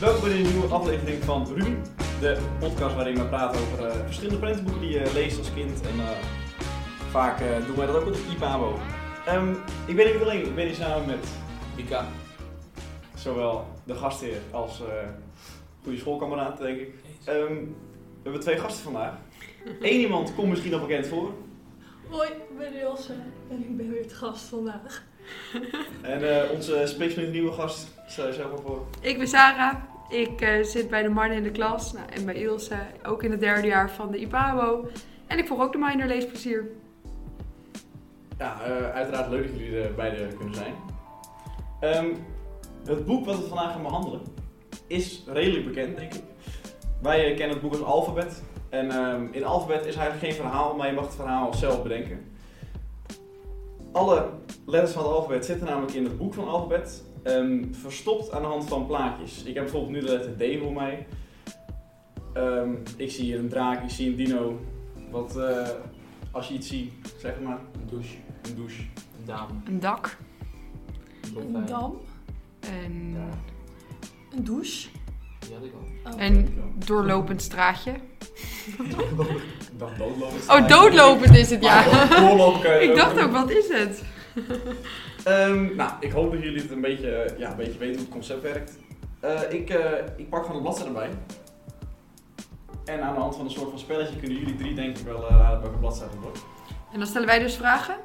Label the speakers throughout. Speaker 1: Welkom bij een nieuwe aflevering van Ruby, de podcast waarin we praten over eh, verschillende prentenboeken die je leest als kind. En eh, vaak eh, doen wij dat ook met IPABO. Ehm ik ben hier niet alleen, ik ben hier samen met
Speaker 2: Mika.
Speaker 1: zowel de gastheer als eh goede schoolkameraad, denk ik. Ehm, we hebben twee gasten vandaag. Eén iemand komt misschien al bekend voor.
Speaker 3: Hoi, ik ben Ilse en ik ben weer te gast vandaag.
Speaker 1: En eh, onze special nieuwe gast, stel jezelf maar voor.
Speaker 4: Ik ben Sarah. Ik eh, zit bij de Marne in de klas nou, en bij Ilse ook in het derde jaar van de IPABO. En ik volg ook de minor leesplezier.
Speaker 1: Ja, eh, uiteraard leuk dat jullie er beide kunnen zijn. Ehm, het boek wat we vandaag gaan behandelen is redelijk bekend, denk ik. Wij eh, kennen het boek als Alfabet. En ehm, in Alfabet is eigenlijk geen verhaal, maar je mag het verhaal zelf bedenken. Alle letters van het alfabet zitten namelijk in het boek van Alfabet, ehm, verstopt aan de hand van plaatjes. Ik heb bijvoorbeeld nu de letter D voor mij. Ehm, ik zie hier een draak, ik zie een dino. Wat, eh, als je iets ziet, zeg maar.
Speaker 2: Een douche.
Speaker 1: Een douche.
Speaker 2: Een dame.
Speaker 4: Een dak,
Speaker 3: Een dam,
Speaker 4: een
Speaker 2: Ja,
Speaker 3: een douche.
Speaker 2: die had ik al.
Speaker 3: Oh.
Speaker 4: En- doorlopend straatje.
Speaker 1: Dan doodlopen.
Speaker 4: Oh, doodlopend is het ja.
Speaker 1: Maar doorlopen kan je
Speaker 4: Ik dacht ook, wat is het?
Speaker 1: Ehm, nou, ik hoop dat jullie het een beetje, eh, ja, een beetje weten hoe het concept werkt. Eh, ik, eh, ik pak van de bladzijde erbij. En aan de hand van een soort van spelletje kunnen jullie drie denk ik wel eh, raden welke bladzijde het wordt.
Speaker 4: En dan stellen wij dus vragen.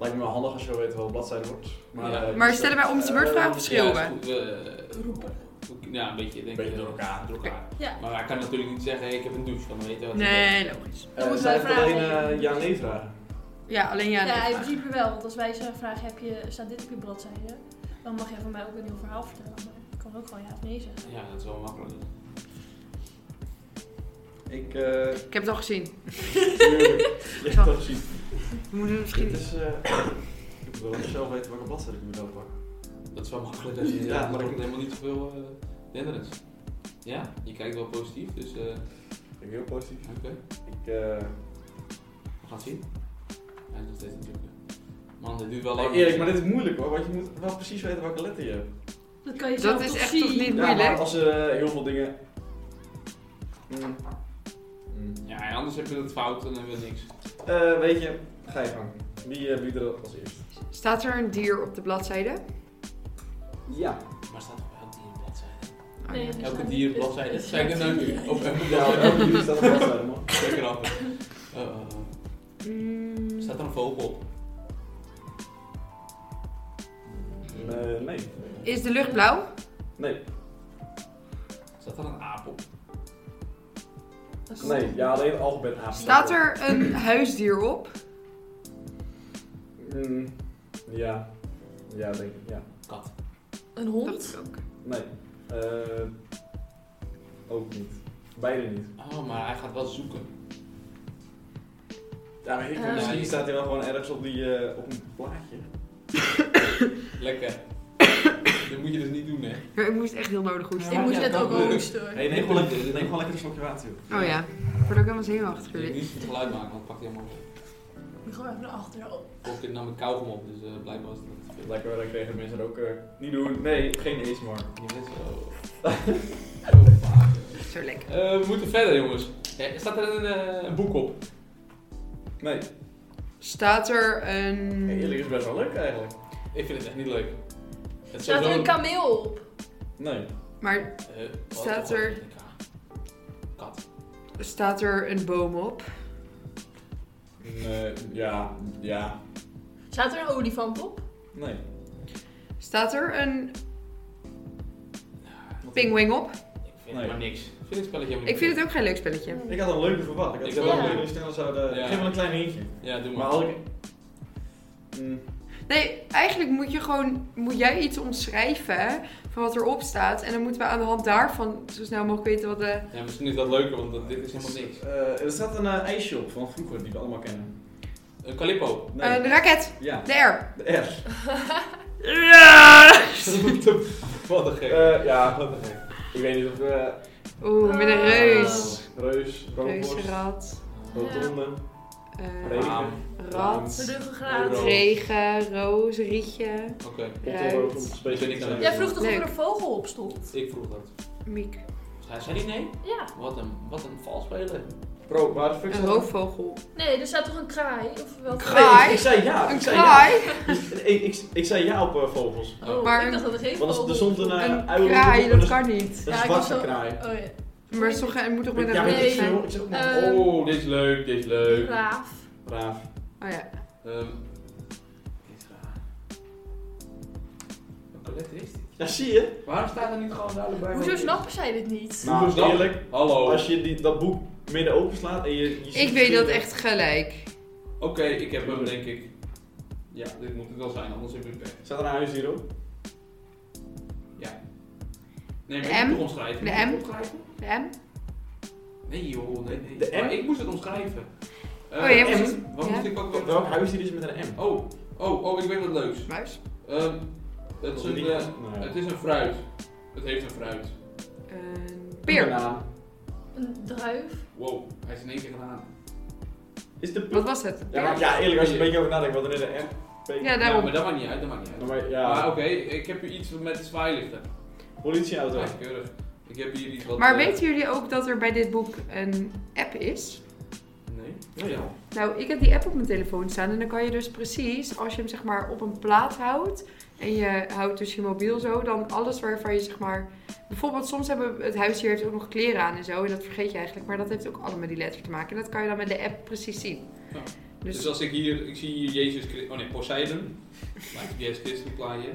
Speaker 1: Lijkt me wel handig als je wel weet welke bladzijde het wordt.
Speaker 2: Ja.
Speaker 1: eh,
Speaker 4: Maar
Speaker 1: dus,
Speaker 4: stellen wij om de
Speaker 1: eh,
Speaker 4: beurt vragen of
Speaker 2: Ja, is
Speaker 4: verschillen
Speaker 2: goed, we- eh,
Speaker 3: Roepen.
Speaker 2: Ja, een beetje, denk
Speaker 1: Een beetje
Speaker 2: ik.
Speaker 1: door elkaar.
Speaker 2: Door elkaar.
Speaker 3: Ja,
Speaker 2: Maar hij kan natuurlijk niet zeggen, hey, ik heb een douche, dan weet je wat
Speaker 4: we?
Speaker 2: hij
Speaker 4: Nee, logisch.
Speaker 1: eh,
Speaker 3: moeten
Speaker 1: zij
Speaker 3: wij
Speaker 1: heeft alleen
Speaker 3: vragen.
Speaker 1: eh, ja-nee vragen.
Speaker 4: Ja, alleen
Speaker 3: ja,
Speaker 4: ja. nee
Speaker 3: in
Speaker 4: vragen.
Speaker 3: principe wel, want als wij zo'n vraag heb je, staat dit op je bladzijde, dan mag jij van mij ook een nieuw verhaal vertellen. Maar ik kan ook gewoon ja of nee
Speaker 2: doet.
Speaker 3: zeggen.
Speaker 2: Ja, dat is wel makkelijk.
Speaker 1: Ik, eh,
Speaker 4: Ik heb het al gezien.
Speaker 1: tuurlijk. Je hebt het al gezien.
Speaker 4: We moeten
Speaker 1: Dit
Speaker 4: misschien...
Speaker 1: is, eh, ik moet wel zelf weten welke bladzijde ik moet doodpakken.
Speaker 2: Dat is wel makkelijk als je
Speaker 1: Ja,
Speaker 2: ja, maar
Speaker 1: maar-
Speaker 2: ik helemaal niet zoveel eh hindernis. Ja, je kijkt wel positief, dus eh,
Speaker 1: Ik ben heel positief.
Speaker 2: oké.
Speaker 1: Ik, eh,
Speaker 2: We gaan het zien. Hij is nog steeds natuurlijk. Man, dit duurt wel
Speaker 1: Hey,
Speaker 2: lang.
Speaker 1: Erik, maar dit is moeilijk hoor, want je moet wel precies weten welke letter je hebt.
Speaker 3: Dat kan je
Speaker 4: Dat
Speaker 3: zelf
Speaker 4: is
Speaker 3: toch
Speaker 4: echt
Speaker 3: zien.
Speaker 4: toch niet-
Speaker 1: Ja, maar
Speaker 4: Moeilijk.
Speaker 1: als er eh, heel veel dingen... Mm. Mm.
Speaker 2: Ja, en anders heb je het fout en dan weer niks.
Speaker 1: Eh, weet je, ga je gang. Wie, eh, wie er als eerst?
Speaker 4: Staat er een dier op de bladzijde?
Speaker 1: Ja.
Speaker 2: Maar staat er wel die in bladzijde?
Speaker 4: Oh,
Speaker 3: Nee,
Speaker 4: ja.
Speaker 3: er
Speaker 2: Elke
Speaker 3: staat-
Speaker 2: dier op bladzijde.
Speaker 3: er
Speaker 2: Zeg ik
Speaker 3: staat-
Speaker 2: dat nou nu? Of elke
Speaker 1: Ja, maar elke
Speaker 2: bladzijde?
Speaker 1: keer staat er wel bij, man.
Speaker 2: Zeker af. Eh, eh,
Speaker 4: Mm,
Speaker 2: staat er een vogel op?
Speaker 1: Eh, nee.
Speaker 4: Is de lucht blauw?
Speaker 1: Nee,
Speaker 2: Staat er een aap op?
Speaker 3: Dat is-
Speaker 1: nee. Ja, alleen het alfabet A.
Speaker 4: Staat er een huisdier op?
Speaker 1: Mm. Ja. Ja, denk ik. Ja.
Speaker 2: Kat.
Speaker 3: Een
Speaker 4: Dat
Speaker 3: hond?
Speaker 4: is ook.
Speaker 1: Nee. Eh, ook niet. Beide niet.
Speaker 2: Oh, maar hij gaat wel zoeken.
Speaker 1: Ja, weet ik
Speaker 3: Eh.
Speaker 1: niet. Misschien staat hij wel gewoon ergens op, die, eh, op een plaatje.
Speaker 2: Lekker. dat moet je dus niet doen, hè?
Speaker 4: Maar ik moest echt heel nodig hoesten.
Speaker 3: Ik
Speaker 2: Ja,
Speaker 3: moest
Speaker 2: ja,
Speaker 3: net
Speaker 2: dat
Speaker 3: ook
Speaker 2: wil
Speaker 3: al
Speaker 2: ik.
Speaker 3: hoesten hoor.
Speaker 1: Hey, neem, gewoon lekker, neem gewoon lekker een slokje water, joh.
Speaker 4: Oh ja, ik word ook helemaal
Speaker 2: Je
Speaker 4: zenuwachtig
Speaker 2: moet
Speaker 4: jullie.
Speaker 2: niet het geluid maken, want het pakt helemaal op.
Speaker 3: Ik moet gewoon even naar achteren. Oh,
Speaker 2: Vorige keer nam ik kauwgom op, dus eh, blijkbaar was het niet te veel.
Speaker 1: Lekker, dan kregen mensen er ook... eh, niet doen. Nee, geen ASMR.
Speaker 2: Je bent zo... Zo vaak.
Speaker 4: Zo lekker.
Speaker 2: Eh, we moeten verder, jongens. Eh, staat er een, eh, een boek op?
Speaker 1: Nee.
Speaker 4: Staat er een...
Speaker 1: Hey, Eerlijk is best wel leuk eigenlijk.
Speaker 2: Ik vind het echt niet leuk. Het is
Speaker 3: Staat er
Speaker 2: sowieso-
Speaker 3: een kameel op?
Speaker 1: Nee.
Speaker 4: Maar
Speaker 2: Eh, wat
Speaker 4: Staat
Speaker 2: toch?
Speaker 4: er-
Speaker 2: Kat.
Speaker 4: staat er een boom op?
Speaker 1: Nee. Mm, eh, Ja. Ja.
Speaker 3: Staat er een olifant op?
Speaker 1: Nee.
Speaker 4: Staat er een pinguïn op?
Speaker 2: Ik vind
Speaker 1: Nee.
Speaker 2: het maar niks. Ik vind het spelletje helemaal
Speaker 4: Ik vind het ook geen leuk spelletje.
Speaker 1: Ik had een leuke verwacht. Ik had
Speaker 2: Ik
Speaker 1: wel
Speaker 3: ook.
Speaker 1: dat jullie sneller zouden...
Speaker 2: Ja.
Speaker 1: eh, Geef me een klein hintje.
Speaker 2: Ja, doe
Speaker 1: Maar
Speaker 2: maar.
Speaker 1: als ik... Mm,
Speaker 4: Nee, eigenlijk moet je gewoon... Moet jij iets omschrijven van wat erop staat. En dan moeten we aan de hand daarvan zo snel mogelijk weten wat de...
Speaker 2: Ja, misschien is dat leuker, want dat- dit is helemaal niks.
Speaker 1: eh, er staat een eh, ijsje op van vroeger die we allemaal kennen.
Speaker 2: Een calippo.
Speaker 1: Nee.
Speaker 4: Een raket!
Speaker 1: ja.
Speaker 4: Eh, De R!
Speaker 1: De R.
Speaker 4: Ja!
Speaker 2: Wat een gek.
Speaker 1: Eh, ja. wat een gek. Ik weet niet of... eh
Speaker 4: Oeh, met een reus.
Speaker 1: Oh. reus, roodborst,
Speaker 4: Reuzenrad.
Speaker 1: rotonde.
Speaker 4: eh,
Speaker 1: Regen.
Speaker 2: Ehm,
Speaker 3: De
Speaker 4: rat,
Speaker 3: ruggengraat.
Speaker 1: Rood.
Speaker 4: regen, roos, rietje,
Speaker 2: Oké,
Speaker 4: ruit,
Speaker 1: Space
Speaker 2: Ik weet niet aan
Speaker 3: Jij vroeg toch of
Speaker 4: Leuk.
Speaker 3: er een vogel op stond?
Speaker 2: ik vroeg dat.
Speaker 4: miek.
Speaker 2: Hij zei niet nee?
Speaker 3: Ja.
Speaker 2: Wat een, wat een valspeler.
Speaker 1: Bro, waar de fuck
Speaker 4: Een roofvogel.
Speaker 3: Nee, er staat toch een kraai? Of wel
Speaker 4: Kraai.
Speaker 1: Nee, ik, ik zei ja.
Speaker 4: Een
Speaker 1: Ik zei ja.
Speaker 4: kraai,
Speaker 1: Ik, ik, ik zei ja op eh, vogels.
Speaker 3: Oh,
Speaker 4: Maar
Speaker 3: ik dacht dat er geen
Speaker 1: Want als
Speaker 3: vogel
Speaker 1: er stond een
Speaker 3: op
Speaker 1: eh,
Speaker 4: een
Speaker 1: uil op de
Speaker 4: kraai,
Speaker 1: hoek
Speaker 4: dat
Speaker 1: en
Speaker 4: kan niet.
Speaker 1: een, een
Speaker 3: Ja, ik was
Speaker 1: zwarte
Speaker 3: zo-
Speaker 1: kraai.
Speaker 3: stond. Oh ja.
Speaker 4: Maar het is toch- het moet toch met een
Speaker 1: Ja, weet
Speaker 4: rug
Speaker 1: ik
Speaker 3: Nee.
Speaker 1: veel.
Speaker 4: zijn?
Speaker 1: Ik zeg ook maar.
Speaker 3: Eh, Ehm.
Speaker 2: oh, dit is leuk, dit is leuk.
Speaker 3: Raaf.
Speaker 1: Raaf.
Speaker 4: Oh ja,
Speaker 2: Ehm, dit is raar. Welke letter is dit?
Speaker 1: Ja, zie je?
Speaker 2: Waarom staat er niet gewoon duidelijk bij?
Speaker 3: Hoezo snappen zij dit niet?
Speaker 1: Nou,
Speaker 2: Hoezo snappen-
Speaker 1: eerlijk.
Speaker 2: Hallo.
Speaker 1: Als je die, dat boek midden open slaat en je... je ziet
Speaker 4: ik weet dat
Speaker 1: verschillende-
Speaker 4: echt gelijk.
Speaker 2: Oké, ik heb hem denk ik. Ja, dit moet het wel zijn, anders heb ik pech.
Speaker 1: Staat er een huisdier op?
Speaker 2: Nee, maar
Speaker 4: De
Speaker 2: ik moet
Speaker 4: M?
Speaker 2: het omschrijven.
Speaker 4: De
Speaker 2: Moet ik het
Speaker 4: M?
Speaker 2: omschrijven?
Speaker 4: De M?
Speaker 2: Nee joh, nee, nee.
Speaker 1: De M?
Speaker 2: Maar ik moest het omschrijven. Eh,
Speaker 4: Oh, je hebt
Speaker 2: M?
Speaker 4: het-
Speaker 2: Wat
Speaker 4: ja.
Speaker 2: moest ik ook weer
Speaker 1: Welk huisdier is met een M?
Speaker 2: Oh, oh, oh, ik weet wat leuks.
Speaker 4: Muis?
Speaker 2: Ehm, het, is een,
Speaker 1: Die-
Speaker 2: eh,
Speaker 1: nou ja.
Speaker 2: het is een fruit. Het heeft een fruit.
Speaker 4: Een
Speaker 1: Een
Speaker 4: Eh, peer.
Speaker 1: banaan.
Speaker 3: Een druif.
Speaker 2: Wow, hij is in één keer gedaan.
Speaker 1: Is de
Speaker 4: Wat
Speaker 1: poep?
Speaker 4: was het? Een
Speaker 1: Ja,
Speaker 4: peer?
Speaker 1: maar- ja, eerlijk, als je een beetje over nadenkt, wat er in de M... P-
Speaker 4: Ja,
Speaker 2: Ja,
Speaker 4: daarom.
Speaker 2: maar dat maakt niet uit, dat maakt niet uit.
Speaker 1: Maar
Speaker 2: Maar
Speaker 1: ja,
Speaker 2: oké, ik heb hier iets met zwaailichten.
Speaker 1: politieauto.
Speaker 2: Ja, keurig. Ik heb hier iets wat...
Speaker 4: Maar
Speaker 2: eh,
Speaker 4: weten jullie ook dat er bij dit boek een app is?
Speaker 2: Nee? Ja, ja.
Speaker 4: Nou, ik heb die app op mijn telefoon staan en dan kan je dus precies, als je hem zeg maar op een plaat houdt en je houdt dus je mobiel zo, dan alles waarvan je zeg maar, bijvoorbeeld soms hebben het huisdier heeft ook nog kleren aan en zo en dat vergeet je eigenlijk, maar dat heeft ook allemaal met die letter te maken en dat kan je dan met de app precies zien.
Speaker 2: Ja. Dus,
Speaker 4: Dus
Speaker 2: als ik hier, ik zie hier Jezus Christus, oh nee, Poseidon. Maar Jezus Christus plaatje.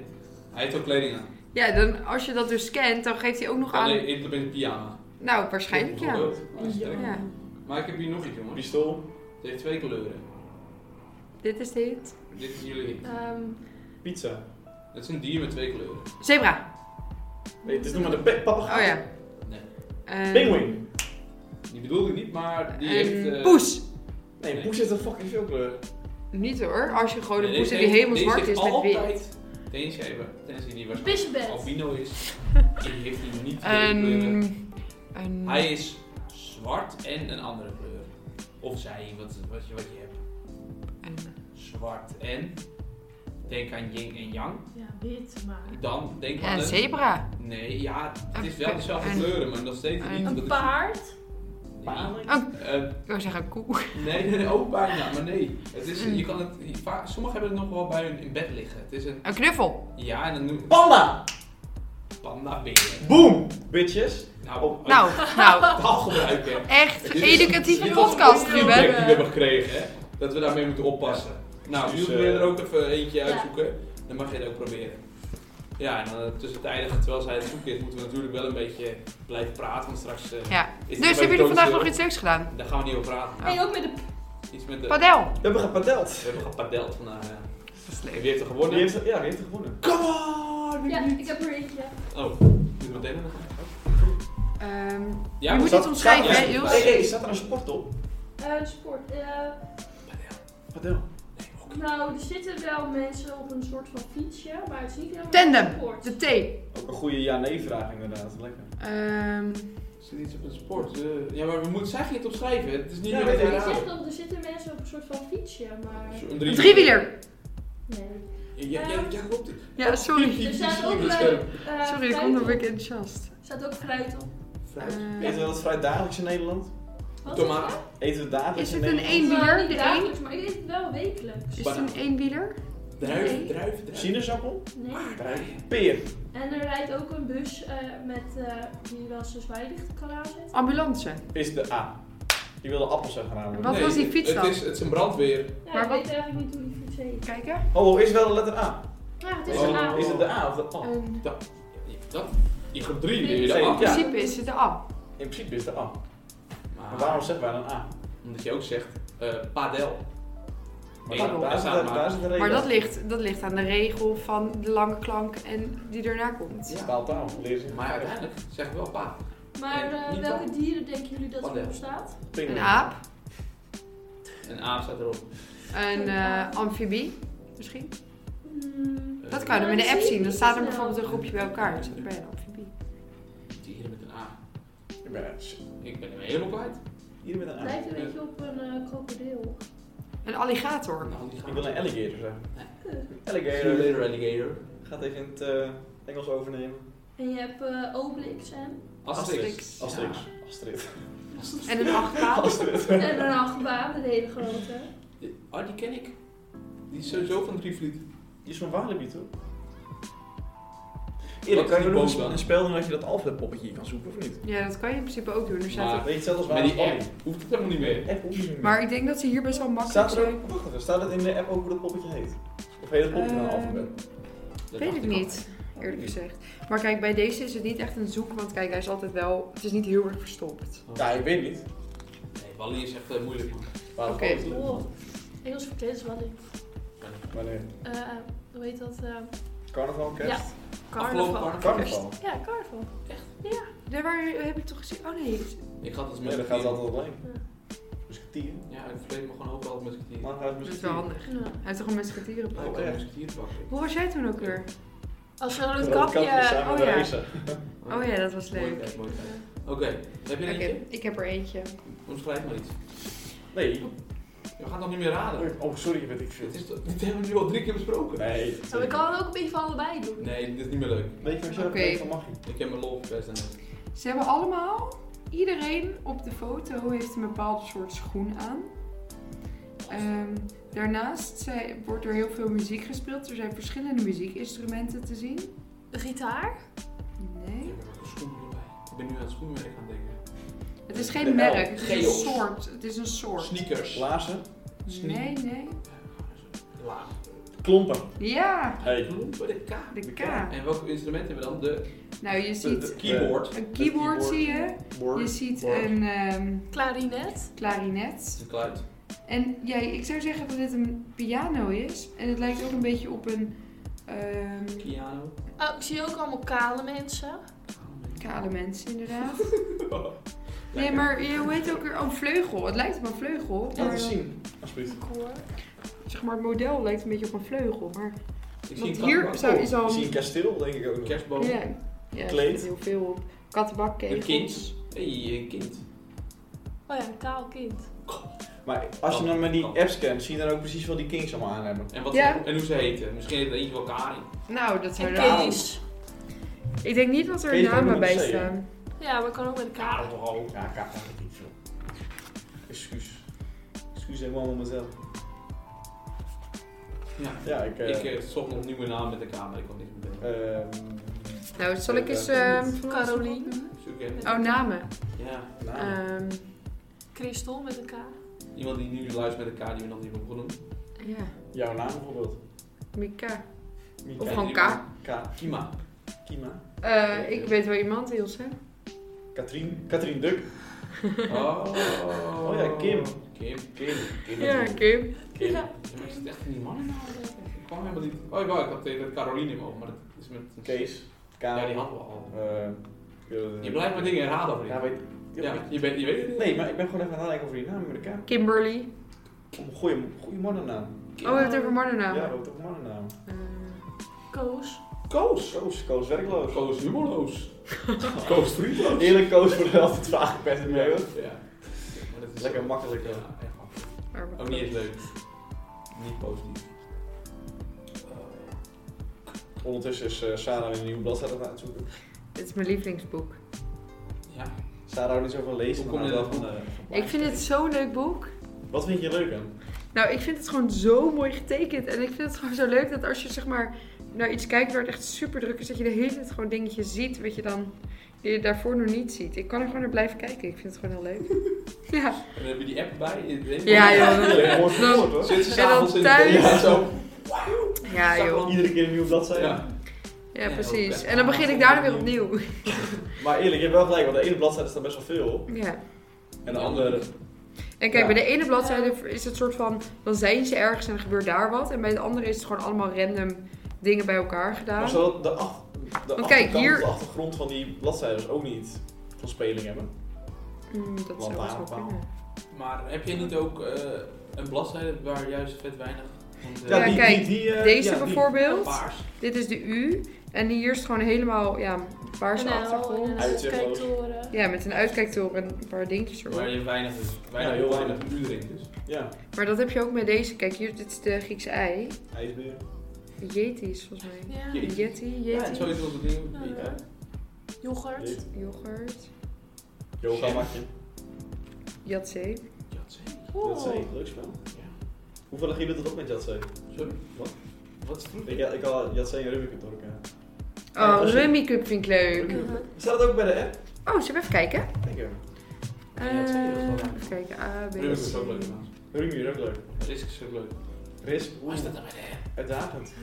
Speaker 2: Hij heeft ook kleding aan.
Speaker 4: ja, dan als je dat dus scant, dan geeft hij ook nog aan.
Speaker 2: Alleen in een pyjama.
Speaker 4: Nou, waarschijnlijk ja.
Speaker 2: Bijvoorbeeld. Maar hij is sterk.
Speaker 4: Ja.
Speaker 2: Maar ik heb hier nog iets jongens.
Speaker 1: Pistool.
Speaker 2: Het heeft twee kleuren.
Speaker 4: Dit is dit.
Speaker 2: Dit is jullie hint.
Speaker 3: Ehm,
Speaker 1: Pizza.
Speaker 2: Het is een dier met twee kleuren.
Speaker 4: Zebra.
Speaker 1: Nee, het is nog maar de pe-
Speaker 4: Oh
Speaker 1: papegaai.
Speaker 4: ja.
Speaker 2: Nee.
Speaker 4: Eh,
Speaker 1: Pinguïn.
Speaker 2: Die bedoelde ik niet, maar die heeft...
Speaker 4: Een
Speaker 2: eh,
Speaker 4: ehm, poes.
Speaker 1: Nee,
Speaker 2: Nee.
Speaker 1: poes heeft een fucking veel kleur.
Speaker 4: Niet hoor, als je gewoon
Speaker 2: nee,
Speaker 4: een
Speaker 2: deze
Speaker 4: poes hebt die
Speaker 2: heeft-
Speaker 4: helemaal
Speaker 2: deze
Speaker 4: zwart
Speaker 2: heeft
Speaker 4: is met wit.
Speaker 2: altijd de inschrijver. Tenzij die
Speaker 3: Een
Speaker 2: waarschijnlijk
Speaker 3: pissebed.
Speaker 2: albino is. Die heeft hij niet twee kleuren.
Speaker 4: Ehm, Een, een,
Speaker 2: Hij is zwart en een andere kleur. Of zij, wat, wat, je, wat je hebt.
Speaker 4: een-
Speaker 2: zwart en denk aan yin en yang.
Speaker 3: Ja, wit maar.
Speaker 2: Dan denk aan
Speaker 4: een
Speaker 2: een-
Speaker 4: zebra.
Speaker 2: Nee, ja, het is
Speaker 4: Een
Speaker 2: wel dezelfde
Speaker 4: een-
Speaker 2: kleuren, maar nog steeds
Speaker 4: een-
Speaker 2: niet. dat
Speaker 3: Een
Speaker 2: is-
Speaker 3: paard.
Speaker 2: Nee,
Speaker 4: Een-
Speaker 2: Eh,
Speaker 4: Oh, Ik wou zeggen koe.
Speaker 2: nee, nee, nee, ook bijna, maar nee. Het is,
Speaker 4: Hmm.
Speaker 2: je kan het, je- vaak- sommigen hebben het nog wel bij hun in bed liggen. Het is een,
Speaker 4: Een knuffel.
Speaker 2: ja, en dan noem
Speaker 1: Panda!
Speaker 2: panda beer.
Speaker 1: Boom! Bitches.
Speaker 2: Nou,
Speaker 4: Nou, nou.
Speaker 2: taal gebruiken.
Speaker 4: Echt
Speaker 2: Dit is-
Speaker 4: educatieve
Speaker 2: dit was
Speaker 4: podcast,
Speaker 2: een feedback die
Speaker 4: Ruben.
Speaker 2: we hebben gekregen, hè, dat we daarmee moeten oppassen. Nou,
Speaker 1: Dus,
Speaker 2: jullie willen er
Speaker 1: eh,
Speaker 2: ook even eentje
Speaker 3: Ja.
Speaker 2: uitzoeken. Dan mag je het ook proberen. Ja, en dan tussentijdig, terwijl zij het zoeken is, moeten we natuurlijk wel een beetje blijven praten. Want straks eh,
Speaker 4: Ja.
Speaker 2: is het
Speaker 4: Dus
Speaker 2: bij
Speaker 4: hebben jullie vandaag
Speaker 2: toonstil.
Speaker 4: nog iets leuks gedaan?
Speaker 2: Daar gaan we niet over praten.
Speaker 3: En ook met de
Speaker 2: Iets met de...
Speaker 4: Padel.
Speaker 1: We hebben gepadeld.
Speaker 2: We hebben gepadeld vandaag. ja.
Speaker 4: Dat is
Speaker 2: En
Speaker 4: leuk.
Speaker 2: wie heeft er
Speaker 1: Wie
Speaker 2: gewonnen?
Speaker 1: heeft, ja, wie heeft er gewonnen?
Speaker 2: Come on!
Speaker 3: Ja, ik heb er eentje.
Speaker 2: Oh, moet ik meteen nog?
Speaker 4: Ehm,
Speaker 2: Ja,
Speaker 4: je moet
Speaker 1: zat-
Speaker 4: iets omschrijven,
Speaker 1: zat-
Speaker 4: hè,
Speaker 2: ja.
Speaker 4: Jules?
Speaker 1: Hey, hey, staat er een sport op?
Speaker 3: Eh, sport. eh,
Speaker 1: Padel.
Speaker 3: nou, er zitten wel mensen op een soort van fietsje, maar het is niet helemaal
Speaker 4: Tandem.
Speaker 3: een sport.
Speaker 4: De thee.
Speaker 1: Ook een goede ja-nee vraag inderdaad. Lekker.
Speaker 4: Ehm,
Speaker 2: Zit iets op een sport? eh, ja, maar we moeten zeggen het opschrijven. Het is niet
Speaker 1: Ja,
Speaker 2: meer
Speaker 1: weet
Speaker 2: te
Speaker 1: ik.
Speaker 3: Ik zeg
Speaker 2: herhalen.
Speaker 3: dat er zitten mensen op een soort van fietsje, maar
Speaker 2: Een
Speaker 4: een
Speaker 2: drie-
Speaker 4: driewieler.
Speaker 3: nee.
Speaker 2: Ja, ja, ja, klopt.
Speaker 4: Ja, sorry.
Speaker 3: Er staat ook
Speaker 2: Sorry,
Speaker 3: eh, eh,
Speaker 4: Sorry, ik
Speaker 3: fruit
Speaker 4: vond
Speaker 3: op.
Speaker 4: ik enthousiast.
Speaker 3: Er staat ook fruit op.
Speaker 4: Ehm,
Speaker 1: Eten we dat vrij dagelijks in Nederland?
Speaker 3: Wat is
Speaker 2: Tomaat.
Speaker 3: dat?
Speaker 1: Eten we dagelijks
Speaker 4: Is
Speaker 1: in
Speaker 4: het een
Speaker 1: Nederland?
Speaker 4: één-
Speaker 3: Nou,
Speaker 4: wieler,
Speaker 3: niet
Speaker 4: de
Speaker 3: dagelijks, maar ik eet het wel wekelijks.
Speaker 4: Is het een eenwieler?
Speaker 2: Druif,
Speaker 4: Nee.
Speaker 2: druif, druif.
Speaker 1: Sinaasappel?
Speaker 3: Nee.
Speaker 1: Peer.
Speaker 3: En er rijdt ook een bus eh, met, eh, die wel zijn zwaailicht kan aanzetten.
Speaker 4: Ah, Ambulance.
Speaker 1: Is de A. Die wilde appels gaan halen.
Speaker 4: Wat? was die fiets
Speaker 2: het
Speaker 4: dan?
Speaker 2: Is, het is een brandweer.
Speaker 3: Ja,
Speaker 4: Maar
Speaker 3: ik
Speaker 4: wat-
Speaker 3: weet eigenlijk niet hoe die fiets heet.
Speaker 4: Kijken.
Speaker 1: Hallo, Oh, is wel een letter A?
Speaker 3: Ja, het
Speaker 2: Is
Speaker 3: is
Speaker 1: het-
Speaker 3: een Ehm, A.
Speaker 1: Oh,
Speaker 3: Eh.
Speaker 1: Is het de A of de A?
Speaker 4: Een-
Speaker 2: Dat, in groep 3 leer je
Speaker 1: Nee.
Speaker 2: dat af.
Speaker 4: in
Speaker 1: Ja.
Speaker 4: principe is het de A.
Speaker 1: In principe is het
Speaker 2: Ah.
Speaker 1: de A. Maar
Speaker 2: Maar
Speaker 1: waarom zeggen wij dan A?
Speaker 2: Omdat je ook zegt, eh, padel.
Speaker 1: Maar
Speaker 2: Nee,
Speaker 1: daar, daar,
Speaker 2: daar
Speaker 1: zit-
Speaker 2: staat maar.
Speaker 1: daar zit de regel.
Speaker 4: Maar dat ligt, dat ligt aan de regel van de lange klank en die erna komt.
Speaker 2: Ja.
Speaker 1: Taaltaal. Leer ze.
Speaker 2: Maar uiteindelijk zeg ik wel pa.
Speaker 3: Maar
Speaker 2: Nee,
Speaker 3: eh,
Speaker 2: niet
Speaker 3: welke
Speaker 2: wel.
Speaker 3: dieren denken jullie dat
Speaker 2: Padel.
Speaker 3: erop staat?
Speaker 1: Pinguïn.
Speaker 4: Een aap,
Speaker 2: En A staat erop.
Speaker 4: een eh, amfibie misschien.
Speaker 3: Hmm,
Speaker 2: Eh,
Speaker 4: Dat kan je dan in de app zien. Dan staat er bijvoorbeeld een groepje bij elkaar. Dus dan ben je een amfibie.
Speaker 2: Dieren met een A.
Speaker 1: Ik ben- shit,
Speaker 2: Ik ben hem helemaal kwijt.
Speaker 1: Hier met een A.
Speaker 3: lijkt een beetje op een eh, krokodil.
Speaker 4: Een alligator.
Speaker 2: Nou, die
Speaker 1: Ik wil een alligator zeggen. Alligator
Speaker 2: Alligator, alligator.
Speaker 1: gaat even in het eh, Engels overnemen.
Speaker 3: En je hebt eh Obelix en,
Speaker 4: Asterix.
Speaker 1: Asterix. Astrid.
Speaker 4: En een achtbaan.
Speaker 1: Astrid.
Speaker 3: en een achtbaan, een hele grote.
Speaker 2: Ja. Ah, die ken ik. Die is sowieso van Drievliet.
Speaker 1: Die is van Walibi, toch? Eerlijk,
Speaker 2: is
Speaker 1: kan je
Speaker 2: die
Speaker 1: wel
Speaker 2: boom dan?
Speaker 1: een spel doen dat je dat Alfred poppetje hier kan zoeken, of niet?
Speaker 4: Ja, dat kan je in principe ook doen. Er staat
Speaker 2: Maar-
Speaker 1: Weet je het zelf als
Speaker 2: Maar die
Speaker 1: Walibi?
Speaker 2: app hoeft het helemaal niet meer.
Speaker 1: App hoef je niet meer.
Speaker 4: Maar ik denk dat ze hier best wel makkelijk
Speaker 1: Staat er
Speaker 4: zijn.
Speaker 1: ook, wacht even, staat het in de app ook hoe dat poppetje heet? Of heet het poppetje nou van
Speaker 4: Ehm,
Speaker 1: Alfred?
Speaker 2: Dat
Speaker 4: Weet
Speaker 2: dacht
Speaker 4: ik
Speaker 2: al.
Speaker 4: niet, eerlijk gezegd. Maar kijk, bij deze is het niet echt een zoek, want kijk, hij is altijd wel... Het is niet heel erg verstopt.
Speaker 1: Ja, ik weet niet.
Speaker 2: Nee, Wally is echt eh, moeilijk. man.
Speaker 1: Maar
Speaker 4: Oké.
Speaker 3: Oh, Engels verkleed is wel leuk.
Speaker 1: Wanneer?
Speaker 3: Eh, hoe heet dat? eh
Speaker 1: Carnaval, kerst?
Speaker 3: Ja.
Speaker 2: Afgelopen
Speaker 3: carnaval.
Speaker 1: Carnaval.
Speaker 3: Ja, carnaval.
Speaker 4: Daar waar heb ik toch gezien? Oh nee.
Speaker 2: Ik ga het
Speaker 1: Ja,
Speaker 2: met
Speaker 1: daar gaat het altijd Dus alleen.
Speaker 3: Ja.
Speaker 1: Musketieren.
Speaker 2: Ja, ik verleed me gewoon ook altijd met sketier.
Speaker 1: Man gaat
Speaker 4: Dat is Dus wel
Speaker 1: musketieren.
Speaker 4: handig.
Speaker 3: Nou,
Speaker 4: Hij heeft toch een musketieren
Speaker 2: Ik
Speaker 4: pak?
Speaker 1: Oh,
Speaker 2: kan
Speaker 1: echt?
Speaker 2: een sketier pakken.
Speaker 4: Hoe was jij toen ook weer?
Speaker 3: Als zo'n rood
Speaker 1: Rood
Speaker 3: kapje.
Speaker 4: oh
Speaker 1: samen met
Speaker 4: ja.
Speaker 1: racen.
Speaker 4: Oh ja, dat was
Speaker 2: Mooi
Speaker 4: leuk.
Speaker 2: tijd, mooi tijd.
Speaker 3: Ja.
Speaker 2: Oké, heb je
Speaker 4: Oké,
Speaker 2: een eentje?
Speaker 4: ik heb er eentje.
Speaker 2: Omschrijf maar iets.
Speaker 1: Nee.
Speaker 2: We gaan nog niet meer raden.
Speaker 1: Oh, sorry, weet ik veel.
Speaker 2: Dit, is, toch- dit hebben we nu al drie keer besproken.
Speaker 1: Nee.
Speaker 3: Maar ik kan het ook een beetje van allebei doen.
Speaker 2: Nee, dit is niet meer leuk.
Speaker 1: Weet je wat je ook
Speaker 4: Oké.
Speaker 1: weet van magie?
Speaker 2: Ik heb mijn lol verpest daarnet.
Speaker 4: Ze hebben allemaal, iedereen op de foto heeft een bepaald soort schoen aan. Ehm, daarnaast zij- wordt er heel veel muziek gespeeld. Er zijn verschillende muziekinstrumenten te zien.
Speaker 3: De gitaar?
Speaker 2: Ik
Speaker 4: Nee.
Speaker 2: heb er ook een schoen erbij. Ik ben nu aan het schoenmerk aan het denken.
Speaker 4: Het is
Speaker 1: De
Speaker 4: nou, geen
Speaker 1: L.
Speaker 4: merk, het is
Speaker 2: Geox.
Speaker 4: een soort. Het is een soort.
Speaker 2: Sneakers.
Speaker 1: Blazen.
Speaker 4: Nee, nee.
Speaker 2: Laag.
Speaker 1: Klompen.
Speaker 4: Ja,
Speaker 1: Hey.
Speaker 2: Bloem bij de K.
Speaker 4: de K.
Speaker 2: En welk instrument hebben we dan? De
Speaker 4: Nou, je ziet
Speaker 1: de-
Speaker 2: keyboard.
Speaker 4: een keyboard zie je. Je
Speaker 1: Board.
Speaker 4: ziet
Speaker 1: Board.
Speaker 4: een ehm,
Speaker 3: Klarinet?
Speaker 4: klarinet.
Speaker 2: Een kluit.
Speaker 4: En ja, ik zou zeggen dat dit een piano is. En het lijkt ook een beetje op een ehm,
Speaker 2: Piano.
Speaker 3: Oh, ik zie ook allemaal kale mensen.
Speaker 4: kale mensen inderdaad.
Speaker 2: Oh.
Speaker 4: Nee, maar je, hoe heet het ook weer? Oh, een vleugel. Het lijkt op een vleugel.
Speaker 1: Laat
Speaker 4: maar
Speaker 1: eens zien. Alsjeblieft.
Speaker 3: Ik hoor.
Speaker 4: Zeg maar, het model lijkt een beetje op een vleugel. Maar
Speaker 2: Ik
Speaker 4: want
Speaker 2: een
Speaker 4: hier
Speaker 2: kattenbak.
Speaker 4: zou, is
Speaker 1: Oh, Ik
Speaker 4: al
Speaker 1: zie een
Speaker 4: een,
Speaker 1: kasteel, denk ik ook
Speaker 2: Een
Speaker 1: nog.
Speaker 2: kerstboom.
Speaker 4: ja, ja, er
Speaker 1: Kleed.
Speaker 4: zit heel veel op. Kattenbakkegels.
Speaker 2: Een kind. hey, een kind.
Speaker 3: Oh ja, een kaal kind.
Speaker 1: Maar als je dan met die apps scant, zie je dan ook precies wel die kings allemaal aan hebben.
Speaker 2: En, wat
Speaker 4: Ja.
Speaker 2: en hoe ze heten. Misschien heet er eentje wel Karin.
Speaker 4: Nou, dat
Speaker 3: En
Speaker 4: zijn er...
Speaker 1: kaal.
Speaker 3: Kees.
Speaker 4: Ik denk niet dat er
Speaker 1: Kees van
Speaker 4: namen bij
Speaker 1: Bloemen C, hè?
Speaker 4: staan.
Speaker 3: Ja, maar kan ook met een kaal.
Speaker 2: toch ook.
Speaker 1: Ja, ik heb eigenlijk niet veel. Excuus. Excuus helemaal aan mezelf.
Speaker 2: Ja.
Speaker 1: Ja, ik... eh,
Speaker 2: Ik eh, zocht nog een nieuwe naam met de K, maar ik kwam niet meteen.
Speaker 1: ehm,
Speaker 4: Nou, zal ik
Speaker 1: eh,
Speaker 4: eens...
Speaker 1: eh,
Speaker 4: ehm, van alles
Speaker 3: Caroline.
Speaker 4: opnoemen?
Speaker 2: Zoek je
Speaker 4: Oh, namen.
Speaker 2: Ja.
Speaker 1: nou,
Speaker 4: Ehm,
Speaker 3: Christel met een K.
Speaker 2: Iemand die nu dus luistert met de K die we nog niet hebben genoemd.
Speaker 4: ja,
Speaker 1: Jouw naam bijvoorbeeld.
Speaker 4: Mika.
Speaker 1: Mika.
Speaker 4: Of
Speaker 2: Ja,
Speaker 4: gewoon
Speaker 2: die-
Speaker 4: K.
Speaker 1: Ka-
Speaker 2: Kima.
Speaker 1: Kima.
Speaker 4: Eh, ik weet wel iemand, Ilse.
Speaker 1: Katrien. Katrien Duk.
Speaker 2: Oh.
Speaker 1: Oh ja, Kim.
Speaker 2: Kim.
Speaker 1: Kim. Kim.
Speaker 4: Ja, Kim.
Speaker 1: Kim.
Speaker 3: Ja.
Speaker 2: Ja, maar ik zit echt in die mannen. Ik kwam helemaal niet. Oh ja, ik had tegen Caroline mogen, maar dat is met.
Speaker 1: Kees.
Speaker 2: Ja,
Speaker 1: Karel.
Speaker 2: die hadden we al.
Speaker 1: Eh, eh,
Speaker 2: Je blijft maar dingen herhalen, vriend.
Speaker 1: Ja, weet
Speaker 2: Ja, maar je, weet, je weet het niet.
Speaker 1: Nee, maar ik ben gewoon even aan het nadenken over die naam met de K.
Speaker 4: Kimberly.
Speaker 1: Om een goede, goede mannennaam.
Speaker 2: Kim.
Speaker 4: Oh, we hebben het over mannennaam.
Speaker 1: Ja, ook toch een mannennaam.
Speaker 4: Eh,
Speaker 3: Koos.
Speaker 2: Koos.
Speaker 1: Koos, Koos werkloos.
Speaker 2: Koos humorloos. Koos vriendloos.
Speaker 1: Eerlijk Koos wordt er altijd vaak gepest in mee, hoor.
Speaker 2: Ja. Maar dat is
Speaker 1: Lekker makkelijk,
Speaker 2: Ja,
Speaker 1: hè.
Speaker 2: echt makkelijk.
Speaker 4: maar wat-
Speaker 2: Ook niet eens leuk. Niet positief.
Speaker 1: Ondertussen is eh, Sarah weer een nieuwe bladzijde aan het zoeken.
Speaker 4: Het is mijn lievelingsboek.
Speaker 2: Ja.
Speaker 1: Sarah houdt niet zo van lezen,
Speaker 2: Hoe kom
Speaker 1: maar
Speaker 2: je
Speaker 1: wel
Speaker 2: dat
Speaker 1: van... eh, van
Speaker 4: Ik vind het zo'n leuk boek.
Speaker 1: plaatjes. Wat vind je leuk aan?
Speaker 4: Nou, ik vind het gewoon zo mooi getekend. En ik vind het gewoon zo leuk dat als je zeg maar naar iets kijkt waar het echt super druk is, dat je de hele tijd gewoon dingetjes ziet wat je dan die je daarvoor nog niet ziet. Ik kan er gewoon naar blijven kijken. Ik vind het gewoon heel leuk. Ja,
Speaker 2: En dan heb je die app bij.
Speaker 4: Ja, Nou, joh.
Speaker 1: Leuk, mooi verwoord, hoor.
Speaker 2: Zitten ze
Speaker 4: En dan
Speaker 2: s'avonds in de
Speaker 4: thuis.
Speaker 2: bed en zo.
Speaker 4: ja joh.
Speaker 1: Iedere keer een nieuwe bladzijde.
Speaker 2: Ja.
Speaker 4: Ja, precies. En dan begin ik daarna weer opnieuw.
Speaker 1: Maar eerlijk, je hebt wel gelijk, want de ene bladzijde staat best wel veel op.
Speaker 4: Ja.
Speaker 1: En de andere...
Speaker 4: En kijk, bij de ene bladzijde is het soort van, dan zijn ze ergens en er gebeurt daar wat. En bij de andere is het gewoon allemaal random dingen bij elkaar gedaan.
Speaker 1: Maar zodat de, ach, de,
Speaker 4: Want kijk,
Speaker 1: achterkant,
Speaker 4: hier-
Speaker 1: de achtergrond van die bladzijden ook niet van speling hebben.
Speaker 4: Mm, dat zou best wel
Speaker 1: Lantaarnpaal.
Speaker 4: kunnen.
Speaker 2: Maar heb je niet ook eh, een bladzijde waar juist vet weinig... Want, eh,
Speaker 4: Ja,
Speaker 1: die,
Speaker 4: kijk,
Speaker 1: die, die, eh,
Speaker 4: Deze
Speaker 1: ja, die.
Speaker 4: bijvoorbeeld.
Speaker 2: Paars.
Speaker 4: Dit is de U. En hier is het gewoon helemaal ja, paarse
Speaker 3: Kanaal
Speaker 4: achtergrond.
Speaker 3: en een
Speaker 1: Uitzicht.
Speaker 3: uitkijktoren.
Speaker 4: Ja, met een uitkijktoren en een paar dingetjes erop.
Speaker 2: Waar je weinig, dus, weinig,
Speaker 1: Ja, heel
Speaker 2: weinig muren in dus.
Speaker 1: Ja,
Speaker 4: Maar dat heb je ook met deze. Kijk, hier, dit is de Griekse ei.
Speaker 1: ijsbeer.
Speaker 4: De Yeti is volgens mij.
Speaker 3: Ja.
Speaker 2: Jeetje.
Speaker 4: Yeti,
Speaker 2: Ja, en
Speaker 4: Yeti,
Speaker 2: zo is onze ding.
Speaker 3: Ja. Yoghurt.
Speaker 1: Jeet.
Speaker 4: yoghurt,
Speaker 1: Yoga
Speaker 2: Shit.
Speaker 1: matje.
Speaker 4: Yatzee.
Speaker 2: Jatzee.
Speaker 1: Jatzee, leuk spel. Hoeveel lag jullie dat op met Jatzee?
Speaker 2: Sorry?
Speaker 1: Wat?
Speaker 2: Wat is het? vroeg?
Speaker 1: Ik, ik had Jatzee en Rubik doorgaan. Ja,
Speaker 4: Oh,
Speaker 1: dat is-
Speaker 4: Rummy Cup vind ik leuk.
Speaker 3: Uh-huh.
Speaker 1: Staat dat ook bij de app?
Speaker 4: Oh, zullen we even kijken?
Speaker 1: Denk je.
Speaker 2: Ja, dat zei je, dat is wel
Speaker 4: Eh,
Speaker 2: leuk.
Speaker 4: even kijken. A, B,
Speaker 2: Rubik is
Speaker 4: C.
Speaker 2: ook leuk man.
Speaker 1: Rubik is ook leuk.
Speaker 2: Risk is ook leuk.
Speaker 1: Risk, oeh,
Speaker 2: dan bij de
Speaker 1: uitdagend.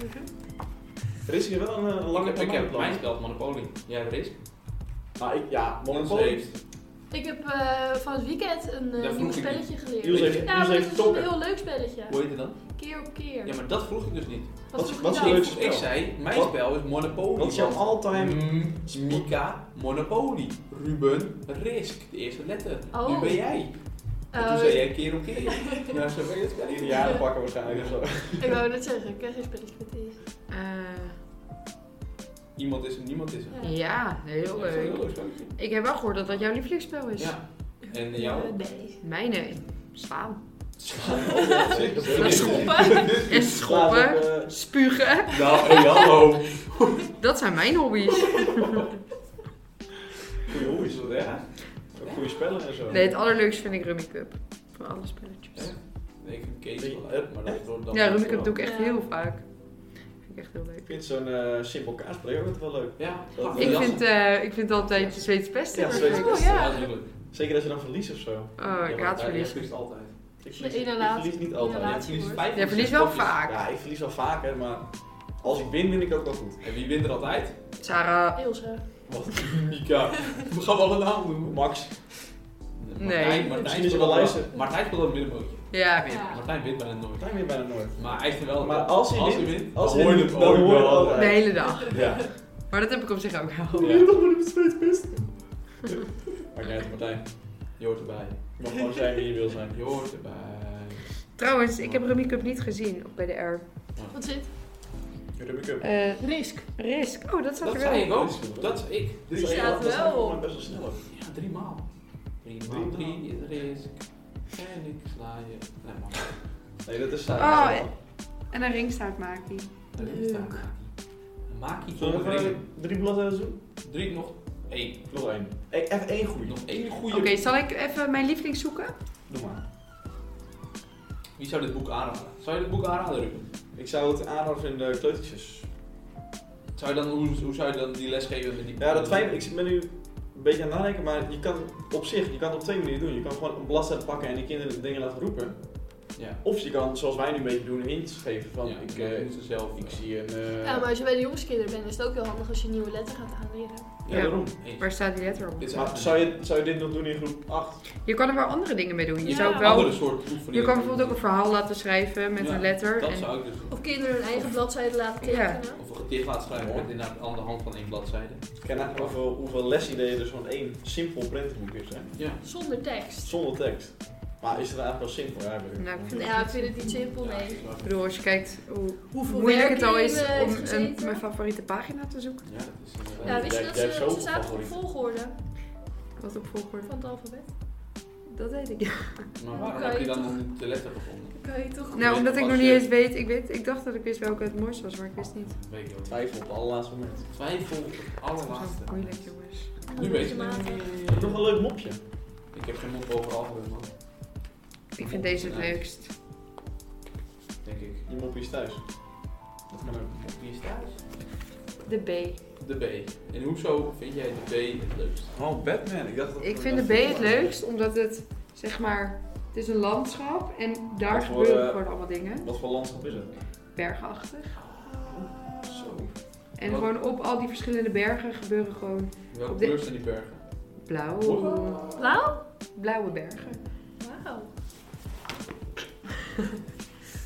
Speaker 1: Risk is wel een, eh, een lange
Speaker 2: Ik heb
Speaker 1: termijn
Speaker 2: mijn spel Monopoly. Jij hebt Risk.
Speaker 1: Ah, ik, ja,
Speaker 2: Niels
Speaker 1: Monopoly.
Speaker 2: heeft-
Speaker 3: Ik heb eh, van het weekend een eh,
Speaker 2: Daar vroeg
Speaker 3: nieuw
Speaker 2: ik
Speaker 3: spelletje
Speaker 1: Niels
Speaker 3: geleerd.
Speaker 1: heeft,
Speaker 3: Ja,
Speaker 1: Niels
Speaker 3: maar het
Speaker 1: heeft
Speaker 3: is een
Speaker 1: tokken.
Speaker 3: heel leuk spelletje.
Speaker 2: Hoe heet het dan?
Speaker 3: Keer op keer.
Speaker 2: Ja, maar dat vroeg ik dus niet.
Speaker 1: Wat-
Speaker 3: vroeg
Speaker 1: wat
Speaker 3: je
Speaker 1: is
Speaker 3: nou?
Speaker 1: leuk?
Speaker 2: Ik
Speaker 1: spel.
Speaker 2: zei, mijn
Speaker 1: Wat?
Speaker 2: spel is Monopoly.
Speaker 1: Wat is jouw
Speaker 2: want-
Speaker 1: all-time...
Speaker 2: Mm, Mika, Monopoly. Ruben, Risk. De eerste letter.
Speaker 3: Oh.
Speaker 2: Nu ben jij. En
Speaker 3: Oh,
Speaker 2: toen zei jij keer op keer. ja, zo ben je het spel.
Speaker 1: Die jaren pakken waarschijnlijk of zo.
Speaker 3: Ik wou net zeggen, ik krijg geen spelletje met deze.
Speaker 4: Eh,
Speaker 2: Iemand is en niemand is er.
Speaker 3: Ja.
Speaker 4: ja, heel
Speaker 2: Ja, dat is wel
Speaker 4: leuk.
Speaker 2: heel leuk spelletje.
Speaker 4: Ik heb wel gehoord dat dat jouw lievelingsspel is.
Speaker 2: Ja. En jou?
Speaker 3: Eh, nee.
Speaker 4: Mijne. Zwaan.
Speaker 1: En
Speaker 3: schoppen.
Speaker 4: En schoppen. Spugen.
Speaker 2: Nou, hey, hallo.
Speaker 4: Dat zijn mijn hobby's.
Speaker 1: Goeie
Speaker 2: Hoe
Speaker 1: hoes.
Speaker 2: is dat, hè?
Speaker 1: Ook Goeie spellen en zo.
Speaker 4: Nee, het allerleukste vind ik Rummy Cup. Van alle spelletjes.
Speaker 2: Nee, ik heb Kees wel uit, maar dat wordt dan...
Speaker 4: Ja, Rummy Cup doe ik echt
Speaker 3: Ja.
Speaker 4: heel vaak. Vind ik echt heel leuk.
Speaker 1: Ik vind zo'n eh, simpel kaasplay ook altijd wel leuk.
Speaker 2: Ja,
Speaker 1: Ik
Speaker 2: dat-
Speaker 4: Ik
Speaker 2: dat-
Speaker 4: vind, eh, ik vind altijd de Zweedse pesten.
Speaker 1: Ja,
Speaker 4: erg
Speaker 1: Zweedse
Speaker 4: leuk.
Speaker 3: Oh ja.
Speaker 2: natuurlijk.
Speaker 1: Zeker als je dan verliest of zo.
Speaker 4: Oh, ik
Speaker 2: maar
Speaker 4: haat
Speaker 2: jij
Speaker 4: verliezen.
Speaker 2: verliest altijd.
Speaker 1: Ik
Speaker 3: Je
Speaker 1: verlies, ik
Speaker 3: inhalatie-
Speaker 1: verlies niet altijd.
Speaker 3: inhalatie.
Speaker 2: Jij verliest
Speaker 3: wordt.
Speaker 2: vijf
Speaker 4: Jij
Speaker 2: of
Speaker 4: verliest
Speaker 2: zes
Speaker 4: wel
Speaker 2: potjes.
Speaker 1: Ja,
Speaker 4: vaak.
Speaker 1: ik verlies wel vaker, maar als ik win, win ik ook wel goed.
Speaker 2: En wie wint er altijd?
Speaker 4: Sarah.
Speaker 3: Ilse.
Speaker 1: Wat?
Speaker 2: Mika. We gaan wel een naam doen.
Speaker 1: Max.
Speaker 4: Nee.
Speaker 2: Martijn,
Speaker 1: Misschien
Speaker 2: Martijn
Speaker 1: is hij
Speaker 2: speelt
Speaker 1: wel
Speaker 2: wel
Speaker 1: luisteren.
Speaker 2: Martijn speelt wel een middenmootje.
Speaker 4: Ja, weet ik.
Speaker 3: Ja.
Speaker 2: Martijn wint bijna nooit.
Speaker 1: Martijn wint bijna nooit.
Speaker 2: Maar hij heeft er wel...
Speaker 1: Maar als hij wint-
Speaker 2: wint,
Speaker 1: als
Speaker 2: dan
Speaker 1: hij
Speaker 2: hoor je
Speaker 1: wint,
Speaker 2: het
Speaker 1: dan
Speaker 2: ook
Speaker 1: hoor je
Speaker 2: wel.
Speaker 1: het altijd.
Speaker 4: De hele dag.
Speaker 1: Ja.
Speaker 4: Maar dat heb ik op zich ook wel.
Speaker 2: Ja.
Speaker 1: steeds best. Maakt niet uit, Martijn.
Speaker 2: Je hoort erbij.
Speaker 1: Je mag gewoon zijn wie je wil zijn.
Speaker 2: Je hoort erbij.
Speaker 4: Trouwens, ik heb Rummy Cup niet gezien op bij de R.
Speaker 3: Wat zit?
Speaker 1: Rubik Cup.
Speaker 4: Eh,
Speaker 3: Risk.
Speaker 4: risk. Oh, dat staat
Speaker 2: Dat
Speaker 4: er
Speaker 2: zei ik
Speaker 4: wel.
Speaker 2: ook. Dat is ik.
Speaker 1: Dit
Speaker 3: Die
Speaker 1: is
Speaker 3: staat
Speaker 1: echt- dat
Speaker 3: wel
Speaker 1: volgens mij
Speaker 3: op.
Speaker 1: best wel snel ook.
Speaker 2: Ja, drie maal. Drie maal.
Speaker 1: Drie
Speaker 2: Drie risk. En ik sla je. Nee, man.
Speaker 1: Nee, dat is eh, saai.
Speaker 3: Ah,
Speaker 4: Oh, En een ringstaart maakt hij.
Speaker 3: Leuk.
Speaker 2: Maak iets
Speaker 1: Zullen
Speaker 2: zonder
Speaker 1: we
Speaker 2: drie.
Speaker 1: even drie bladzijden doen?
Speaker 2: Drie nog één.
Speaker 1: Nog één. Ik- Even één goeie.
Speaker 2: Nog één goede.
Speaker 4: Oké, zal ik even mijn lieveling zoeken?
Speaker 1: Doe maar.
Speaker 2: Wie zou dit boek aanraden? Zou je dit boek aanraden, Ruben?
Speaker 1: Ik zou het aanraden in de kleutertjes.
Speaker 2: Zou je dan, hoe, hoe zou je dan die les geven met die
Speaker 1: Ja, dat fijn. Ik ben nu een beetje aan het nadenken, maar je kan op zich, je kan het op twee manieren doen. Je kan gewoon een bladzijde pakken en de kinderen de dingen laten roepen.
Speaker 2: Ja.
Speaker 1: Of je kan, zoals wij nu een beetje doen, hints geven van
Speaker 2: ja,
Speaker 1: ik,
Speaker 2: dan
Speaker 1: eh,
Speaker 2: doen ze zelf.
Speaker 1: ik zie een... eh,
Speaker 3: Ja, maar als je bij de jongskinderen bent, is het ook heel handig als je nieuwe letters gaat aanleren.
Speaker 1: ja, daarom.
Speaker 2: Eens.
Speaker 4: Waar staat die letter op?
Speaker 2: Dit zijn
Speaker 1: Maar zou je, zou je dit nog doen in groep 8?
Speaker 4: Je kan er wel andere dingen mee doen. Je,
Speaker 3: Ja.
Speaker 4: zou ook
Speaker 2: andere
Speaker 4: wel,
Speaker 2: soort
Speaker 4: je
Speaker 2: oefeningen.
Speaker 4: kan bijvoorbeeld ook een verhaal laten schrijven met
Speaker 2: Oh, Ja,
Speaker 4: een letter.
Speaker 2: Dat
Speaker 4: en-
Speaker 2: zou ik dus doen.
Speaker 3: Of kinderen hun eigen bladzijde laten
Speaker 4: Ja.
Speaker 3: tekenen.
Speaker 2: Of een gedicht laten schrijven
Speaker 1: Mooi.
Speaker 2: met inderdaad aan de hand van één bladzijde.
Speaker 1: Ik ken eigenlijk wel hoeveel, hoeveel lesideeën er zo'n één simpel prentenboek is, hè?
Speaker 2: Ja.
Speaker 3: Zonder tekst.
Speaker 1: Zonder tekst. Maar is het eigenlijk wel simpel eigenlijk?
Speaker 4: Nou, ik vind
Speaker 3: Ja, ik vind het niet simpel, nee.
Speaker 4: Ik bedoel, als je kijkt hoe
Speaker 3: Hoeveel
Speaker 4: moeilijk
Speaker 3: werk
Speaker 4: het al
Speaker 3: erin,
Speaker 4: is
Speaker 3: eh,
Speaker 4: om
Speaker 3: heeft gezeten?
Speaker 4: een, mijn favoriete pagina te zoeken.
Speaker 2: Ja, dat is inderdaad-
Speaker 3: Ja, wist je
Speaker 1: Jij-
Speaker 3: dat
Speaker 1: jij
Speaker 3: ze,
Speaker 1: hebt zoveel
Speaker 3: ze zaten op
Speaker 1: favorieten.
Speaker 3: volgorde
Speaker 4: Wat op volgorde.
Speaker 3: van het alfabet?
Speaker 4: Dat weet ik.
Speaker 2: Maar
Speaker 3: Ja,
Speaker 2: waarom
Speaker 3: kan
Speaker 2: heb je
Speaker 3: je
Speaker 2: dan
Speaker 3: toch-
Speaker 2: niet de letter gevonden?
Speaker 3: Dan kan je toch...
Speaker 2: Nee.
Speaker 4: Nou,
Speaker 2: weet
Speaker 4: omdat
Speaker 2: je
Speaker 4: ik
Speaker 2: als
Speaker 4: nog niet
Speaker 2: je-
Speaker 4: eens weet. Ik, weet. ik dacht dat ik wist welke het mooiste was, maar ik wist niet.
Speaker 2: Weet ik ook. niet.
Speaker 1: Twijfel op het allerlaatste moment.
Speaker 2: Twijfel op het
Speaker 4: Dat was
Speaker 2: allerlaatste.
Speaker 4: ook moeilijk, jongens.
Speaker 2: Nu weet je
Speaker 3: Matig.
Speaker 2: het.
Speaker 1: Toch een leuk mopje.
Speaker 2: Ik heb geen mond overal gehoord, man.
Speaker 4: Ik vind deze het leukst.
Speaker 2: Denk ik.
Speaker 1: Je mopje is thuis. Dat kan ook.
Speaker 2: Wie is thuis?
Speaker 4: De B.
Speaker 2: De B. En hoezo vind jij de B het leukst?
Speaker 1: Oh, Batman. Ik dacht dat
Speaker 4: Ik vind de B het leukst, omdat het, zeg maar, het is een landschap en daar
Speaker 1: Wat voor,
Speaker 4: gebeuren
Speaker 1: eh,
Speaker 4: gewoon allemaal dingen.
Speaker 1: Wat voor landschap is het?
Speaker 4: Bergachtig.
Speaker 1: Zo.
Speaker 4: En
Speaker 2: Wat-
Speaker 4: gewoon op al die verschillende bergen gebeuren gewoon
Speaker 2: Welke
Speaker 4: Op de-
Speaker 2: kleur zijn die bergen?
Speaker 4: blauw,
Speaker 3: Blauw?
Speaker 4: blauwe bergen.
Speaker 3: Wauw.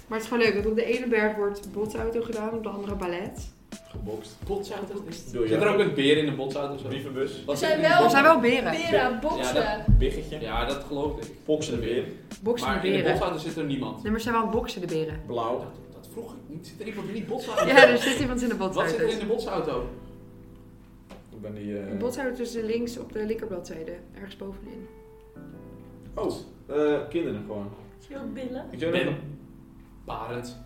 Speaker 4: Maar het is gewoon leuk, want op de ene berg wordt botsauto gedaan, op de andere ballet.
Speaker 1: Gebokst.
Speaker 2: Botsauto? Zit
Speaker 1: Doe je.
Speaker 2: er ook een beer in een botsauto of zo?
Speaker 1: Brievenbus.
Speaker 2: Was
Speaker 3: zijn
Speaker 2: dit in een
Speaker 3: wel-
Speaker 4: Er zijn wel beren.
Speaker 3: Pera, boksen.
Speaker 2: Ja,
Speaker 1: Biggetje.
Speaker 2: Ja, dat geloof ik.
Speaker 1: Fox en de weer.
Speaker 4: Boksen de
Speaker 2: Maar in de
Speaker 4: beren.
Speaker 2: botsauto zit er niemand.
Speaker 4: Nee, maar ze zijn wel aan het boksen de beren.
Speaker 1: Blauw.
Speaker 2: Dat, dat vroeg ik niet. Zit er iemand in die botsauto?
Speaker 4: Ja, er zit iemand in de
Speaker 2: Wat zit er in
Speaker 4: botsauto.
Speaker 2: de botsauto?
Speaker 1: Ik ben die...
Speaker 4: De
Speaker 1: eh,
Speaker 4: botsauto is links op de linkerbladzijde, ergens bovenin.
Speaker 1: Oh, eh, kinderen gewoon.
Speaker 3: Veel billen.
Speaker 1: Ik zou dat-
Speaker 2: Ben. Barend.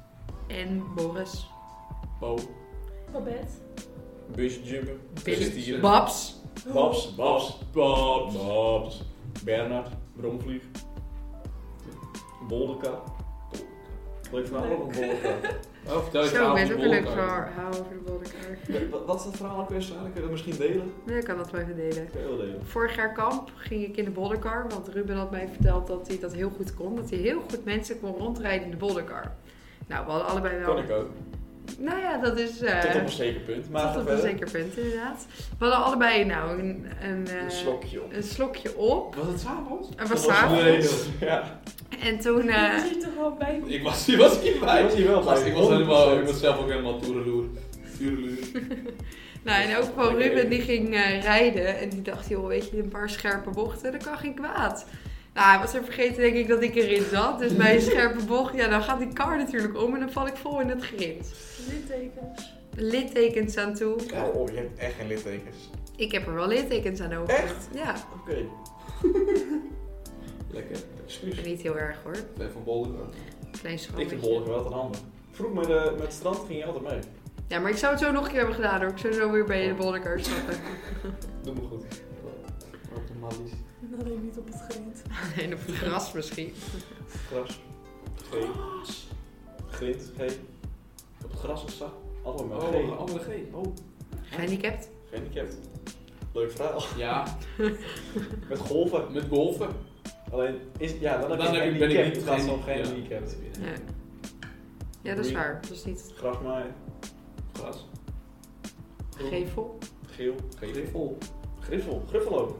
Speaker 4: En Boris.
Speaker 2: Bo.
Speaker 3: Babette.
Speaker 1: Busje jumpen.
Speaker 2: Dus Precies.
Speaker 4: Babs.
Speaker 1: Babs, Babs, Babs, Babs. Bernard, Bromvlieg. Boldeka. Leuk verhaal over Boldeka.
Speaker 2: Oh, vertel je
Speaker 4: Zo,
Speaker 2: verhaal
Speaker 4: bent
Speaker 2: van
Speaker 4: ook
Speaker 2: de
Speaker 4: een leuk
Speaker 2: bolkaart.
Speaker 4: verhaal over de bolderkaart.
Speaker 1: Wat- Wat is dat verhaal ook weer staan? Kun je dat misschien delen?
Speaker 4: Nee, ik kan dat wel even delen.
Speaker 1: Ik kan heel delen.
Speaker 4: Vorig jaar kamp ging ik in de bolderkar, want Ruben had mij verteld dat hij dat heel goed kon. Dat hij heel goed mensen kon rondrijden in de bolderkar. Nou, we hadden allebei wel...
Speaker 1: Kan ik ook.
Speaker 4: Nou ja, dat is... eh,
Speaker 1: Tot op een zeker punt. Maar
Speaker 4: tot
Speaker 1: ga
Speaker 4: op een
Speaker 1: verder.
Speaker 4: zeker punt, inderdaad. We hadden allebei nou een, een, eh,
Speaker 1: Een slokje op.
Speaker 4: een slokje op.
Speaker 2: Was het s'avonds?
Speaker 4: Er was
Speaker 1: Tot op een
Speaker 4: s'avonds.
Speaker 1: zeker- Ja.
Speaker 4: En toen...
Speaker 3: Je
Speaker 4: eh,
Speaker 3: zit er gewoon bij.
Speaker 2: Ik was, ik was niet bij.
Speaker 1: Ik was hier wel
Speaker 2: Gast,
Speaker 1: bij.
Speaker 2: ik was helemaal,
Speaker 1: 100%.
Speaker 2: ik was zelf ook helemaal toereloer. Toereloer.
Speaker 4: Nou, en ook van
Speaker 1: Oké.
Speaker 4: Ruben die ging eh, rijden en die dacht, joh, weet je, een paar scherpe bochten, dat kan geen kwaad. Nou, hij was er vergeten denk ik dat ik erin zat. Dus bij een scherpe bocht, ja, dan gaat die kar natuurlijk om en dan val ik vol in het grind.
Speaker 3: Littekens.
Speaker 4: Littekens aan toe.
Speaker 1: Oh, oh, je hebt echt geen littekens.
Speaker 4: Ik heb er wel littekens aan over.
Speaker 1: Echt?
Speaker 4: Ja,
Speaker 1: Oké.
Speaker 2: Lekker.
Speaker 1: Excuus.
Speaker 4: niet heel erg hoor.
Speaker 2: Ik ben van Bolden.
Speaker 4: Klein
Speaker 1: Ik vind
Speaker 4: schrammetje.
Speaker 1: Boldeka wel een handig. Vroeg met, eh, met het strand ging je altijd mee.
Speaker 4: Ja, maar ik zou het zo nog een keer hebben gedaan hoor. Ik zou zo weer bij je de bolderkar stappen.
Speaker 1: Doe me goed.
Speaker 2: Automatisch.
Speaker 3: Dat ik niet op het grind.
Speaker 4: Alleen op het gras misschien.
Speaker 1: Gras. G. Grind. G. Op het gras of zak. Allemaal met
Speaker 2: Oh,
Speaker 1: G.
Speaker 2: andere G.
Speaker 1: Oh,
Speaker 4: Gehandicapt.
Speaker 1: gehandicapt. Leuk verhaal.
Speaker 2: Ja,
Speaker 1: Met golven.
Speaker 2: met golven.
Speaker 1: Alleen, is, ja, dan,
Speaker 2: Dan heb ik- ben ik
Speaker 1: handicap.
Speaker 2: niet
Speaker 1: Dan gaat
Speaker 2: geen-
Speaker 1: zo'n geen
Speaker 2: ja.
Speaker 1: handicap.
Speaker 4: Ja. ja, dat is waar. Dat is niet
Speaker 1: Grasmaai.
Speaker 2: Gras.
Speaker 1: Oh.
Speaker 4: gevel.
Speaker 1: Geel.
Speaker 2: Griffel.
Speaker 1: Griffel. Griffel ook.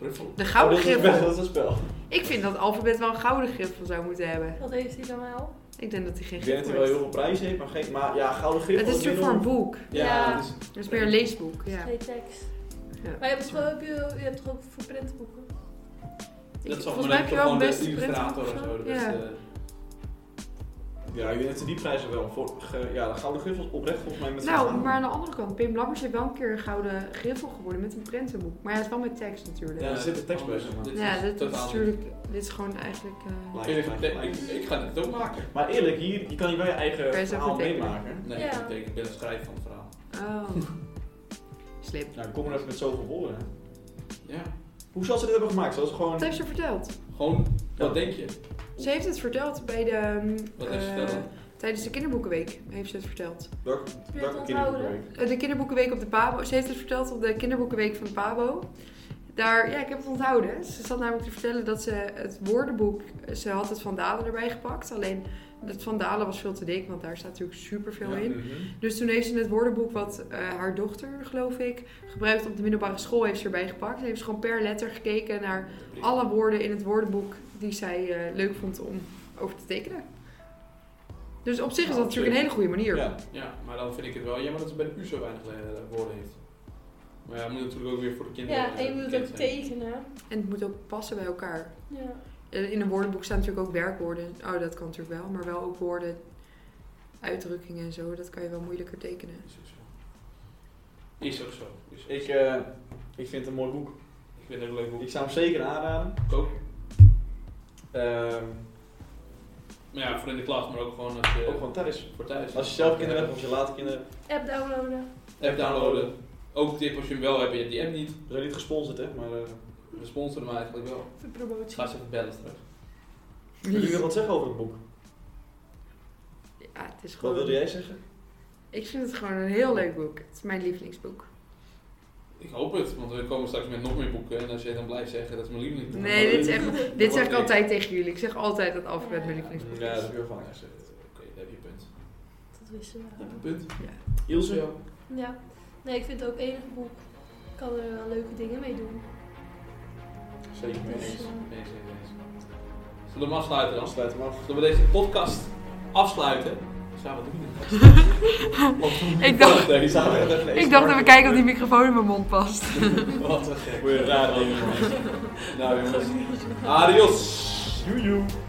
Speaker 2: Griffel.
Speaker 4: De
Speaker 1: Oh,
Speaker 4: gouden
Speaker 1: dat is-
Speaker 4: griffel.
Speaker 1: Dat is een spel.
Speaker 4: Ik vind dat alfabet wel een gouden griffel zou moeten hebben.
Speaker 3: Wat heeft hij dan wel?
Speaker 4: Ik denk dat hij geen
Speaker 1: Ik weet dat
Speaker 4: griffel
Speaker 1: hij wel heel
Speaker 4: heeft.
Speaker 1: veel prijzen heeft, maar, geen, maar ja, gouden griffel.
Speaker 4: Het is natuurlijk voor een boek.
Speaker 1: Ja,
Speaker 3: Ja.
Speaker 1: dat is-
Speaker 4: Het is meer een leesboek. Ja.
Speaker 3: Geen tekst.
Speaker 4: Ja.
Speaker 3: Maar je hebt, toch, ook- je, je hebt toch ook voor prentenboeken?
Speaker 4: Ik-
Speaker 2: zal
Speaker 4: volgens
Speaker 2: maar
Speaker 4: mij heb je
Speaker 2: dan
Speaker 4: wel
Speaker 2: gewoon
Speaker 4: een
Speaker 2: de
Speaker 4: beste
Speaker 2: illustrator of
Speaker 4: printboek
Speaker 2: zo. eh, De
Speaker 4: of zo. Ja. Nou,
Speaker 2: beste.
Speaker 1: Ja, ik denk dat ze die prijzen wel. Voor, ge- ja, de gouden griffel is oprecht volgens mij met z'n
Speaker 4: Nou,
Speaker 1: allen.
Speaker 4: maar aan de andere kant, Pim Lammers heeft wel een keer een gouden griffel geworden met een prentenboek. Maar ja, het is wel met tekst natuurlijk.
Speaker 1: Ja, er zit een tekst bij, zeg maar.
Speaker 2: Dit
Speaker 4: Ja, dit is
Speaker 2: totaal
Speaker 4: natuurlijk. Dit is gewoon eigenlijk. eh,
Speaker 1: Lijkt,
Speaker 2: niet.
Speaker 1: lijkt,
Speaker 2: Ik, ik,
Speaker 1: lijkt.
Speaker 2: ik ga dit ook maken.
Speaker 1: Maar eerlijk, hier, je kan hier wel je eigen
Speaker 4: Kan je zo
Speaker 1: verhaal
Speaker 4: goed tekenen.
Speaker 1: meemaken.
Speaker 2: Nee,
Speaker 3: Ja.
Speaker 2: ik denk ik ben een schrijver van het verhaal.
Speaker 4: Oh. Slim.
Speaker 1: Nou, kom er even met zoveel woorden. hè.
Speaker 2: Ja.
Speaker 1: Hoe zal ze dit hebben gemaakt? Zal ze gewoon...
Speaker 4: Wat heeft ze verteld?
Speaker 2: Gewoon, wat denk je?
Speaker 4: Ze heeft het verteld bij de. ehm,
Speaker 2: Wat heeft ze
Speaker 4: eh,
Speaker 2: verteld?
Speaker 4: Tijdens de kinderboekenweek heeft ze het verteld.
Speaker 1: Welk,
Speaker 3: je
Speaker 1: welke
Speaker 3: het
Speaker 1: kinderboekenweek?
Speaker 4: Eh, De kinderboekenweek op de Pabo. Ze heeft het verteld op de kinderboekenweek van de Pabo. Daar, ja, ik heb het onthouden. Ze zat namelijk te vertellen dat ze het woordenboek... eh, Ze had het Van Dalen erbij gepakt. Alleen, het Van Dalen was veel te dik, want daar staat natuurlijk superveel
Speaker 2: Ja.
Speaker 4: in. Dus toen heeft ze het woordenboek wat eh, haar dochter, geloof ik, gebruikt op de middelbare school, heeft ze erbij gepakt. En heeft ze gewoon per letter gekeken naar alle woorden in het woordenboek die zij eh, leuk vond om over te tekenen. Dus op zich is dat
Speaker 2: Nou,
Speaker 4: natuurlijk een hele goede manier.
Speaker 1: Ja.
Speaker 2: Ja, maar dan vind ik het wel jammer dat ze bij de U zo weinig eh, woorden heeft. Maar ja, het moet natuurlijk ook weer voor de kinderen. eh,
Speaker 3: Ja, en je moet het ook
Speaker 2: tekenen.
Speaker 3: tekenen.
Speaker 4: En het moet ook passen bij elkaar.
Speaker 3: Ja.
Speaker 4: Eh, In een woordenboek staan natuurlijk ook werkwoorden. Oh, dat kan natuurlijk wel. Maar wel ook woorden, uitdrukkingen en zo. Dat kan je wel moeilijker tekenen.
Speaker 2: Is ook zo. Is ook zo. Is ook zo.
Speaker 1: Ik, eh, ik vind het een mooi boek.
Speaker 2: Ik vind het ook leuk hoe
Speaker 1: Ik zou hem zeker aanraden.
Speaker 2: ik ook.
Speaker 1: Ehm,
Speaker 2: Maar ja, voor in de klas, maar ook gewoon als je,
Speaker 1: ook gewoon thuis.
Speaker 2: voor thuis.
Speaker 1: Als je zelf kinderen hebt of je later kinderen hebt.
Speaker 3: App downloaden.
Speaker 2: App downloaden. Ook tip als je hem wel hebt, je hebt die app niet.
Speaker 1: We zijn niet gesponsord, hè, maar... eh
Speaker 2: We sponsoren hem eigenlijk wel.
Speaker 3: Voor promotie.
Speaker 2: Ga ze even bellen terug.
Speaker 1: wil je nog wat zeggen over het boek?
Speaker 4: Ja, het is
Speaker 1: Wat
Speaker 4: gewoon...
Speaker 1: wilde jij zeggen?
Speaker 4: Ik vind het gewoon een heel leuk boek. Het is mijn lievelingsboek.
Speaker 2: Ik hoop het, want we komen straks met nog meer boeken. En als jij dan blijft zeggen, dat is mijn lieveling.
Speaker 4: Nee, dit is echt... Dit zeg ik
Speaker 2: Oké.
Speaker 4: altijd tegen jullie. Ik zeg altijd dat alfabet mijn lievelingsboek
Speaker 1: Ja, dat
Speaker 4: is.
Speaker 1: heb je wel vaak
Speaker 2: Oké,
Speaker 1: gezegd.
Speaker 2: daar heb je een punt.
Speaker 3: Dat wisten we
Speaker 2: Daar heb je
Speaker 3: wel.
Speaker 2: een punt.
Speaker 4: Ja.
Speaker 1: Ilse?
Speaker 3: Ja. Nee, ik vind het ook enig boek. Ik kan er wel leuke dingen mee doen. Dus, eh,
Speaker 1: Zeker mee
Speaker 2: Eens,
Speaker 1: eens. Nou,
Speaker 2: eens, eens. Zullen we hem afsluiten dan?
Speaker 1: Sluit hem af.
Speaker 2: Zullen we deze podcast afsluiten? Samen doen we
Speaker 4: Ik dacht,
Speaker 1: Nee, zouden we echt even
Speaker 4: ik dacht dat we kijken of die microfoon in mijn mond past.
Speaker 2: Wat een gek.
Speaker 1: Voor je rare dingen.
Speaker 2: Nou jongens, adios!
Speaker 1: Joejoe.